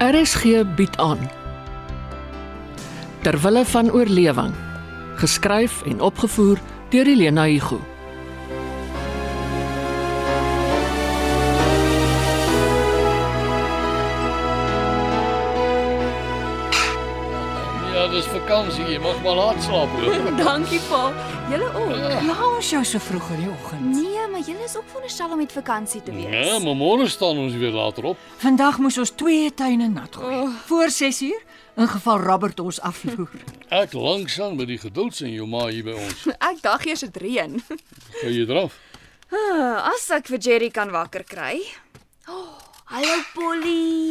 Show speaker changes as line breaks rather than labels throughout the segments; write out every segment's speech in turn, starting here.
RSG bied aan Terwille van oorlewing geskryf en opgevoer deur Elena Igu
Ja, dis vakansie, jy mag maar laat slaap hoor.
Dankie pa. Julle ook. Ja.
Kla ons jou so vroeg in die oggend.
Nee, maar julle is ook veronderstel om met vakansie te wees.
Nee, maar môre staan ons weer later op.
Vandag moes ons twee tuine nat gooi. Voor 6uur in geval Robert ons afloer.
Ek langsaan met die geduld in jou ma hier by ons.
Ek dag eers dit reën.
Gaan jy draf?
Ah, As ek vir Jerry kan wakker kry. Oh, hallo Polly.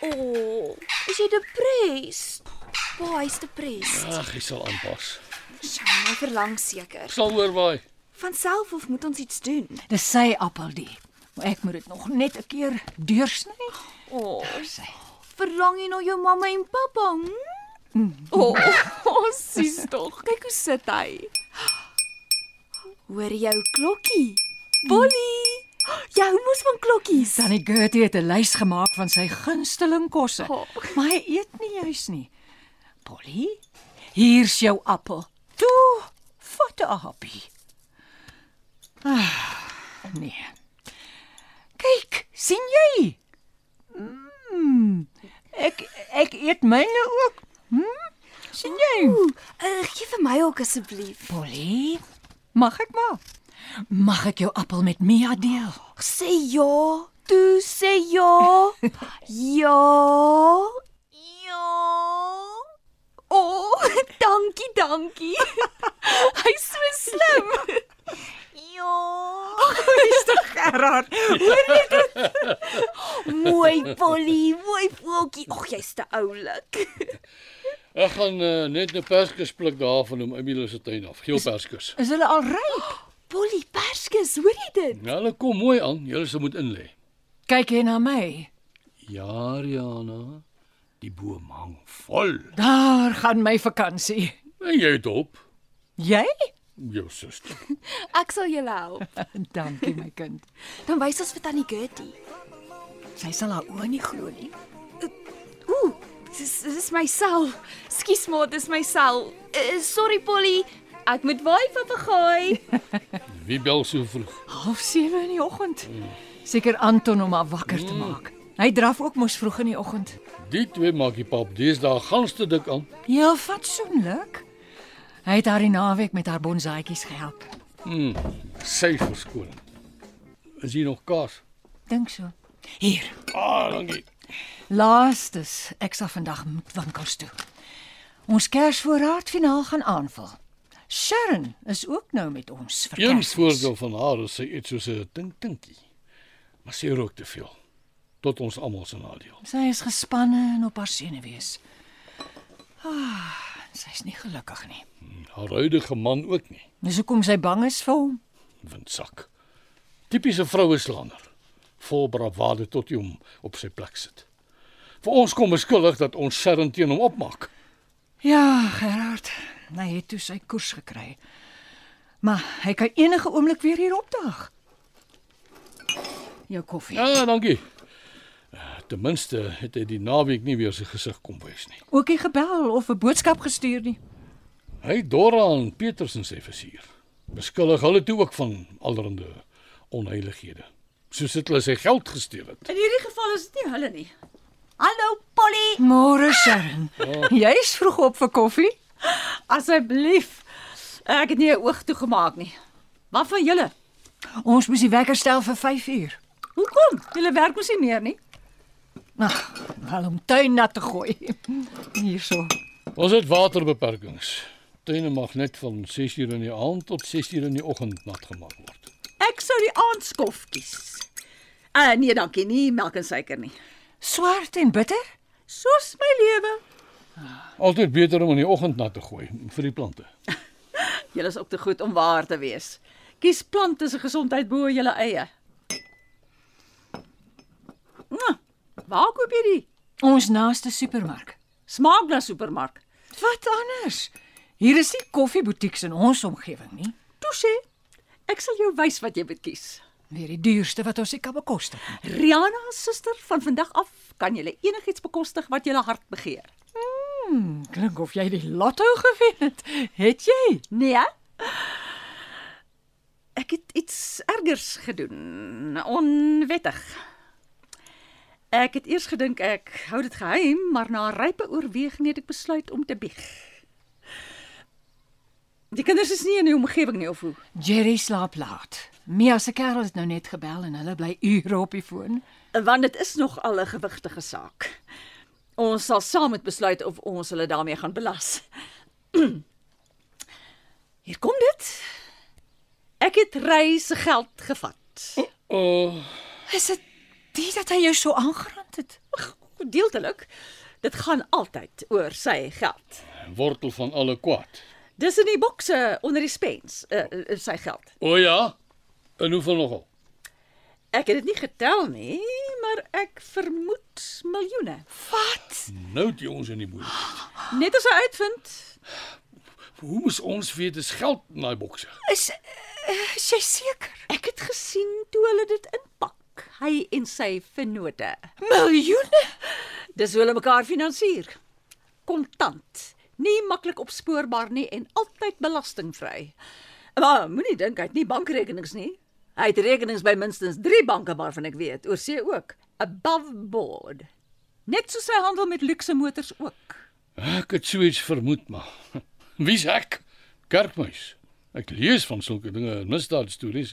O, oh, is jy depressed? Pa, hy's depressed.
Ag, ek sal aanpas.
Sy my verlang seker.
Ek sal oorwaai.
Van self of moet ons iets doen?
Dis sy appel die. Maar ek moet dit nog net 'n keer deursny.
O, oh,
Sy.
verlang jy na jou mamma en pappa? Hm? O, oh, sies tog. Kyk hoe sit hy. Hoor jou klokkie. Polly, jy hou mos van klokkies.
Tannie Gertie het 'n lys gemaak van sy gunsteling kosse,
Oh.
maar hy eet nie juis nie. Polly, hier's jou appel. Toe, vat 'n happie. Ah, nee. Kyk, sien jy? Mm, ek ek eet myne ook. Hm? Sien jy?
Uh, gee vir my ook asseblief.
Polly, mag ek maar? Mag ek jou appel met Mia deel?
Sê ja. Toe sê ja. ja. Ja. O, oh, dankie, dankie. Hy's so slim. ja.
Gerard,
Mooi Polly, mooi voeltjie. Ag, jy's te oulik.
Ek gaan uh, net 'n perskus pluk daar van hom Emile se tuin af. Geel perskus.
is hulle al ryp?
Polly Perskes, hoor jy dit?
Nou, hulle kom mooi aan. Julle se moet inlê.
Kyk jy na my?
Ja, Riana. Die boom hang vol.
Daar gaan my vakansie.
En jy het op
Jy?
jou suster.
Ek sal julle help.
Dankie my kind.
Dan wys ons vir tannie Gertie.
Sy sal haar oë nie glo nie.
Ooh, dis dis my sel. Skus maar, dis my sel. Uh, sorry Polly, ek moet waai papegaai.
Wie bel so vroeg?
07:30 in die oggend. Seker Anton om haar wakker te maak. Hy draf ook mos vroeg in die oggend.
Die twee maak die pap deesdae gans te dik aan.
Heel Ja, fatsoenlik. Hy het haar die naweek met haar bonsaatjies gehelp.
Sy verskoning. Is hier nog kaas?
Dink so. Hier,
Ah, dankie.
laastes. Ek sal vandag moet winkels toe. Ons Kersvoorraad finaal gaan aanval. Sharon is ook nou met ons vir
Een
Kersfees.
voordeel van haar is sy eet soos 'n tink-tinkie. Maar sy rook te veel. Tot ons almal se nadeel.
Sy is gespanne en op haar senuwees. Ah, sy's nie gelukkig nie.
Haar huidige man ook nie.
Dis hoekom sy bang is vir hom.
Windsak. Tipiese vroueslander. Vol bravade tot hy hom op sy plek sit. Vir ons kom beskuldig dat ons Sharon teen hom opmaak.
Ja, Gerard, hy het toe sy koers gekry. Maar hy kan enige oomblik weer hier opdaag. Jou koffie.
Ja, dankie. Eh, Ten minste het hy die naweek nie weer sy gesig kom wys nie.
Ook nie gebel of 'n boodskap gestuur nie.
Hy Dora en Petersen se versier. Beskuldig hulle toe ook van allerlei onheilighede. Soos dit hulle sy geld gesteel het.
In hierdie geval is dit nie hulle nie. Hallo Polly.
Môre, Sharon. Jy's vroeg op vir koffie?
Asseblief. Ek het nie 'n oog toe gemaak nie. Wat van julle?
Ons moes die wekker stel vir 5uur.
Hoekom? Julle werk mos nie meer nie.
Ag, wel om tuin nat te gooi. Hierso.
Ons het waterbeperkings. Tuine mag net van 6uur in die aand tot 6uur in die oggend nat gemaak word.
Ek sou die aandskof kies. Uh nee, dankie nie, melk en suiker nie.
Swart en bitter?
Soos my lewe.
Altyd beter om in die oggend nat te gooi vir die plante.
Julle is op te goed om waar te wees. Kies plante se gesondheid bo julle eie. Mwah, Waar koop jy die?
Ons naaste supermark.
Smaak na supermark.
Wat anders? Hier is nie koffiebutieks in ons omgewing nie.
Toe sê, ek sal jou wys wat jy moet kies.
Weer die duurste wat ons nie kan bekostig nie.
Rihanna se suster van vandag af kan jy enigiets bekostig wat jou hart begeer.
Klink of jy die lotto gewen het. Het jy?
Nee. Ek het iets ergers gedoen, onwettig. Ek het eers gedink ek hou dit geheim, maar na rype oorweging het ek besluit om te bieg. Die kinders is nie in die omgewing nie of hoe.
Jerry slaap laat. Mia se kerel het nou net gebel en hulle bly ure op die foon.
Want dit is nog al 'n gewigtige saak. Ons sal saam moet besluit of ons hulle daarmee gaan belas. Hier kom dit. Ek het reisgeld gevat.
Uh,
Is dit dit dat hy jou so aangerand het?
Deeltelik. Dit gaan altyd oor sy geld.
wortel van alle kwaad.
Dis in die bokse onder die spens, uh, uh, sy geld.
O ja. En hoeveel nogal?
Ek het dit nie getel nie, maar ek vermoed miljoene.
Wat?
Nou die ons in die moeilikheid.
Net as hy uitvind,
Hoe moes ons weet dis geld in daai bokse?
Is is jy seker?
ek het gesien toe hulle dit inpak, hy en sy vennote.
Miljoene?
Dis hoe hulle mekaar finansier. Kontant, nie maklik opspoorbaar nie en altyd belastingvry. Maar moenie dink hy het nie bankrekenings nie. Hy het rekenings by minstens 3 banke waarvan ek weet, oor see ook, above board. Net soos hy handel met luukse motors ook.
Ek het so iets vermoed maar. Wie's ek? Kerkmuis. Ek lees van sulke dinge in misdaadstories.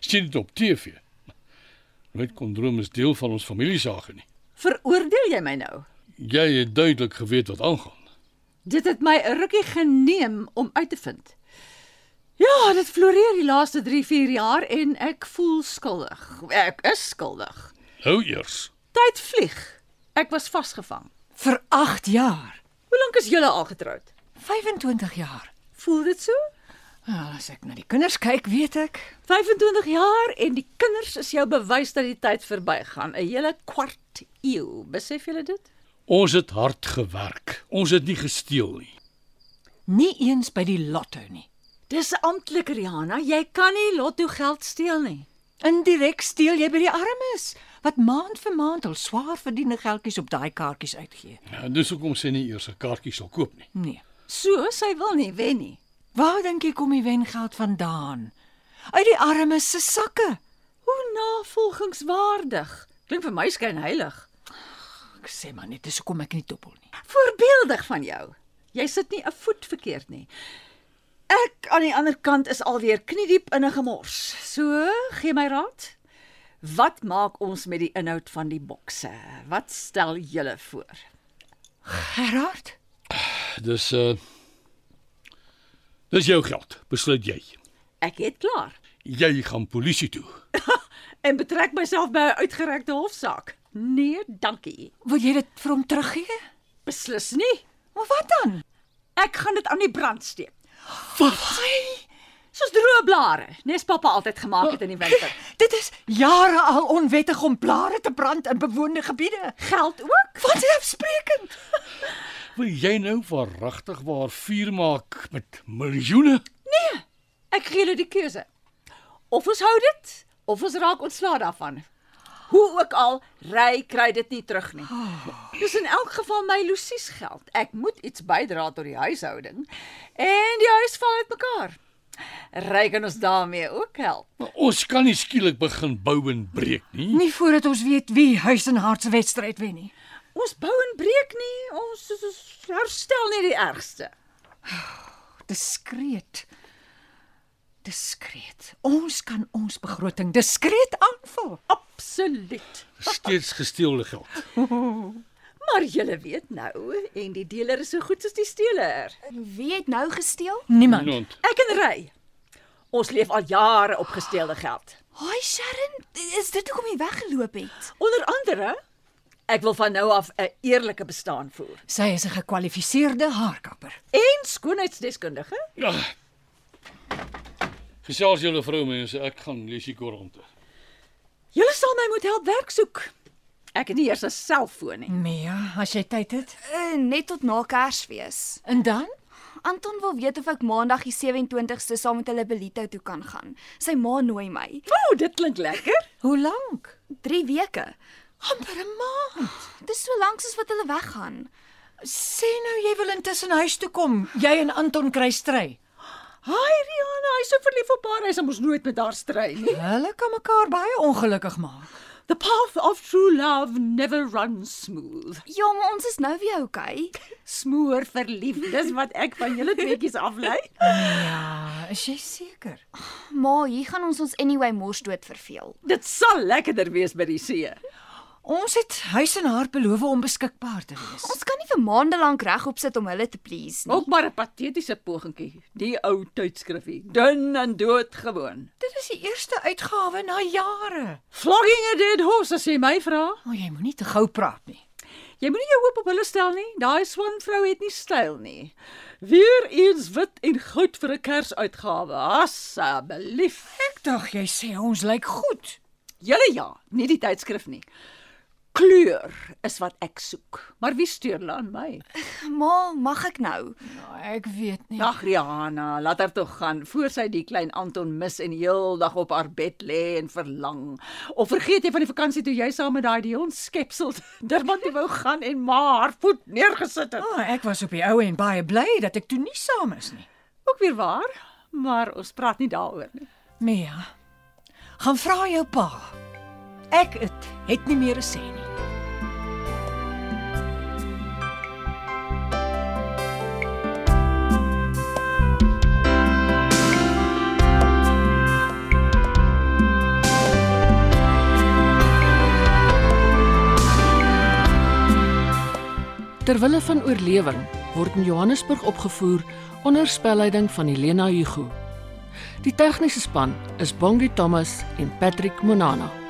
Ek sien dit op TV. Nooit kondroom is deel van ons familiesage nie.
Veroordeel jy my nou?
Jy het duidelik geweet wat aangaan.
Dit het my 'n rukkie geneem om uit te vind. Ja, dit floreer die laaste 3-4 jaar en ek voel skuldig. Ek is skuldig.
Nou eers.
Tyd vlieg. Ek was vasgevang.
Vir 8 jaar.
Hoe lank is julle al getroud?
25 jaar.
Voel dit so?
Wel, as ek na die kinders kyk, weet ek.
25 jaar en die kinders is jou bewys dat die tyd verbygaan. 'n Hele kwart eeu. Besef julle dit?
Ons het hard gewerk. Ons het nie gesteel nie.
Nie eens by die lotto nie.
Dis amptelik, Rihanna. Jy kan nie lotto geld steel nie.
Indirek steel jy by die armes wat maand vir maand al swaar verdiende geldjies op daai kaartjies uitgee.
En Ja, dis hoekom sy nie eers 'n kaartjie sal koop nie.
Nee.
So, sy wil nie wen nie.
Waar dink jy kom die wengeld vandaan? Uit die armes se sakke.
Hoe navolgingswaardig. Klink vir my skyn heilig.
Ek sê maar net, dis hoekom ek nie dobbel nie.
Voorbeeldig van jou. Jy sit nie 'n voet verkeerd nie. Ek aan die ander kant is alweer kniediep in 'n gemors. So, gee my raad. Wat maak ons met die inhoud van die bokse? Wat stel julle voor?
Gerard,
Dis uh Dis jou geld, besluit jy.
Ek het klaar
Jy gaan polisie toe.
en betrek myself by 'n uitgerekte hofsaak. Nee, dankie.
wil jy dit vir hom teruggee?
Beslis nie.
Maar wat dan?
Ek gaan dit aan die brand steek.
Wat?
Soos droë blare, nes pappa altyd gemaak het in die winter.
Dit is jare al onwettig om blare te brand in bewoonde gebiede.
Geld ook?
Wat is afsprekend?
Wil jy nou verragtig waar vuur maak met miljoene?
Ek gee julle die keuse. Of ons hou dit of ons raak ontslae daarvan. Hoe ook al, ry kry dit nie terug nie. Dis in elk geval my Lucie se geld. Ek moet iets bydra tot die huishouding en die huis val uitmekaar. Ry kan ons daarmee ook help.
Maar ons kan nie skielik begin bou en breek nie.
Nie voordat ons weet wie huis en hart se wedstryd wen nie.
Ons bou en breek nie, ons, ons herstel nie die ergste.
Diskreet. Diskreet. Ons kan ons begroting diskreet aanvul.
Absoluut.
Steeds gesteelde geld.
Maar julle weet nou en die dealer is so goed soos die steeler.
Wie het nou gesteel?
Niemand.
Niemand.
Ek en ry. Ons leef al jare op gesteelde geld.
Haai Sharon, is dit hoekom jy weggeloop het?
Onder andere, ek wil van nou af 'n eerlike bestaan voer.
Sy is 'n gekwalifiseerde haarkapper.
En skoonheidsdeskundige?
Ja. Gesels julle vroumense, ek gaan lees die koerante.
Julle sal my moet help werk soek. Ek het nie eers 'n selfoon nie.
Mia, as jy tyd het.
Eh,
Uh, net tot na Kersfees.
En dan?
Anton wil weet of ek Maandag die 27ste saam met hulle Belito toe kan gaan. Sy ma nooi my.
O, oh, dit klink lekker.
Hoe lank?
3 weke.
Amper 'n maand.
Dis so lank soos wat hulle weggaan.
Sê nou jy wil intussen huis toe kom. Jy en Anton kry stry.
Haai Rihanna, hy's so verlief op haar, hy sal mos nooit met haar stry nie.
Hulle kan mekaar baie ongelukkig maak.
The path of true love never runs smooth.
Ja, maar ons is nou weer okay.
Smoor verlief, dis wat ek van julle tweeetjies aflei.
Ja, is jy seker?
Maar hier gaan ons ons anyway mors dood verveel.
Dit sal lekkerder wees by die see.
Ons het huis en haar beloof om beskikbaar te wees.
Ons kan nie vir maande lank regop sit om hulle te please nie.
Ook maar 'n patetiese pogingkie, die ou tydskrifie, dun en doodgewoon.
Dit is die eerste uitgawe na jare.
Flogging a dead horse as jy my vra.
Maar jy moenie te gou praat nie.
Jy moenie jou hoop op hulle stel nie. Daai swanvrou het nie styl nie. Weer eens wit en goud vir 'n kersuitgawe. Asseblief.
Ek dink jy sê ons lyk goed.
Julle ja, nie die tydskrif nie. Kleur is wat ek soek. Maar wie steur hulle aan my?
Ma, mag ek nou?
Nou, ek weet nie.
Ag Rihanna, laat haar toe gaan voor sy die klein Anton mis en heeldag op haar bed lê en verlang. Of vergeet jy van die vakansie toe jy saam met daai Dion skepsel Durban toe wou gaan en maar haar voet neergesit het?
Oh, ek was op die ou en baie bly dat ek toe nie saam is nie.
Ook weer waar, maar ons praat nie daaroor nie.
Mia, gaan vra jou pa. Ek het, het nie meer 'n sê nie.
Terwille van oorlewing word in Johannesburg opgevoer onder spelleiding van Helena Hugo. Die tegniese span is Bongi Thomas en Patrick Monana.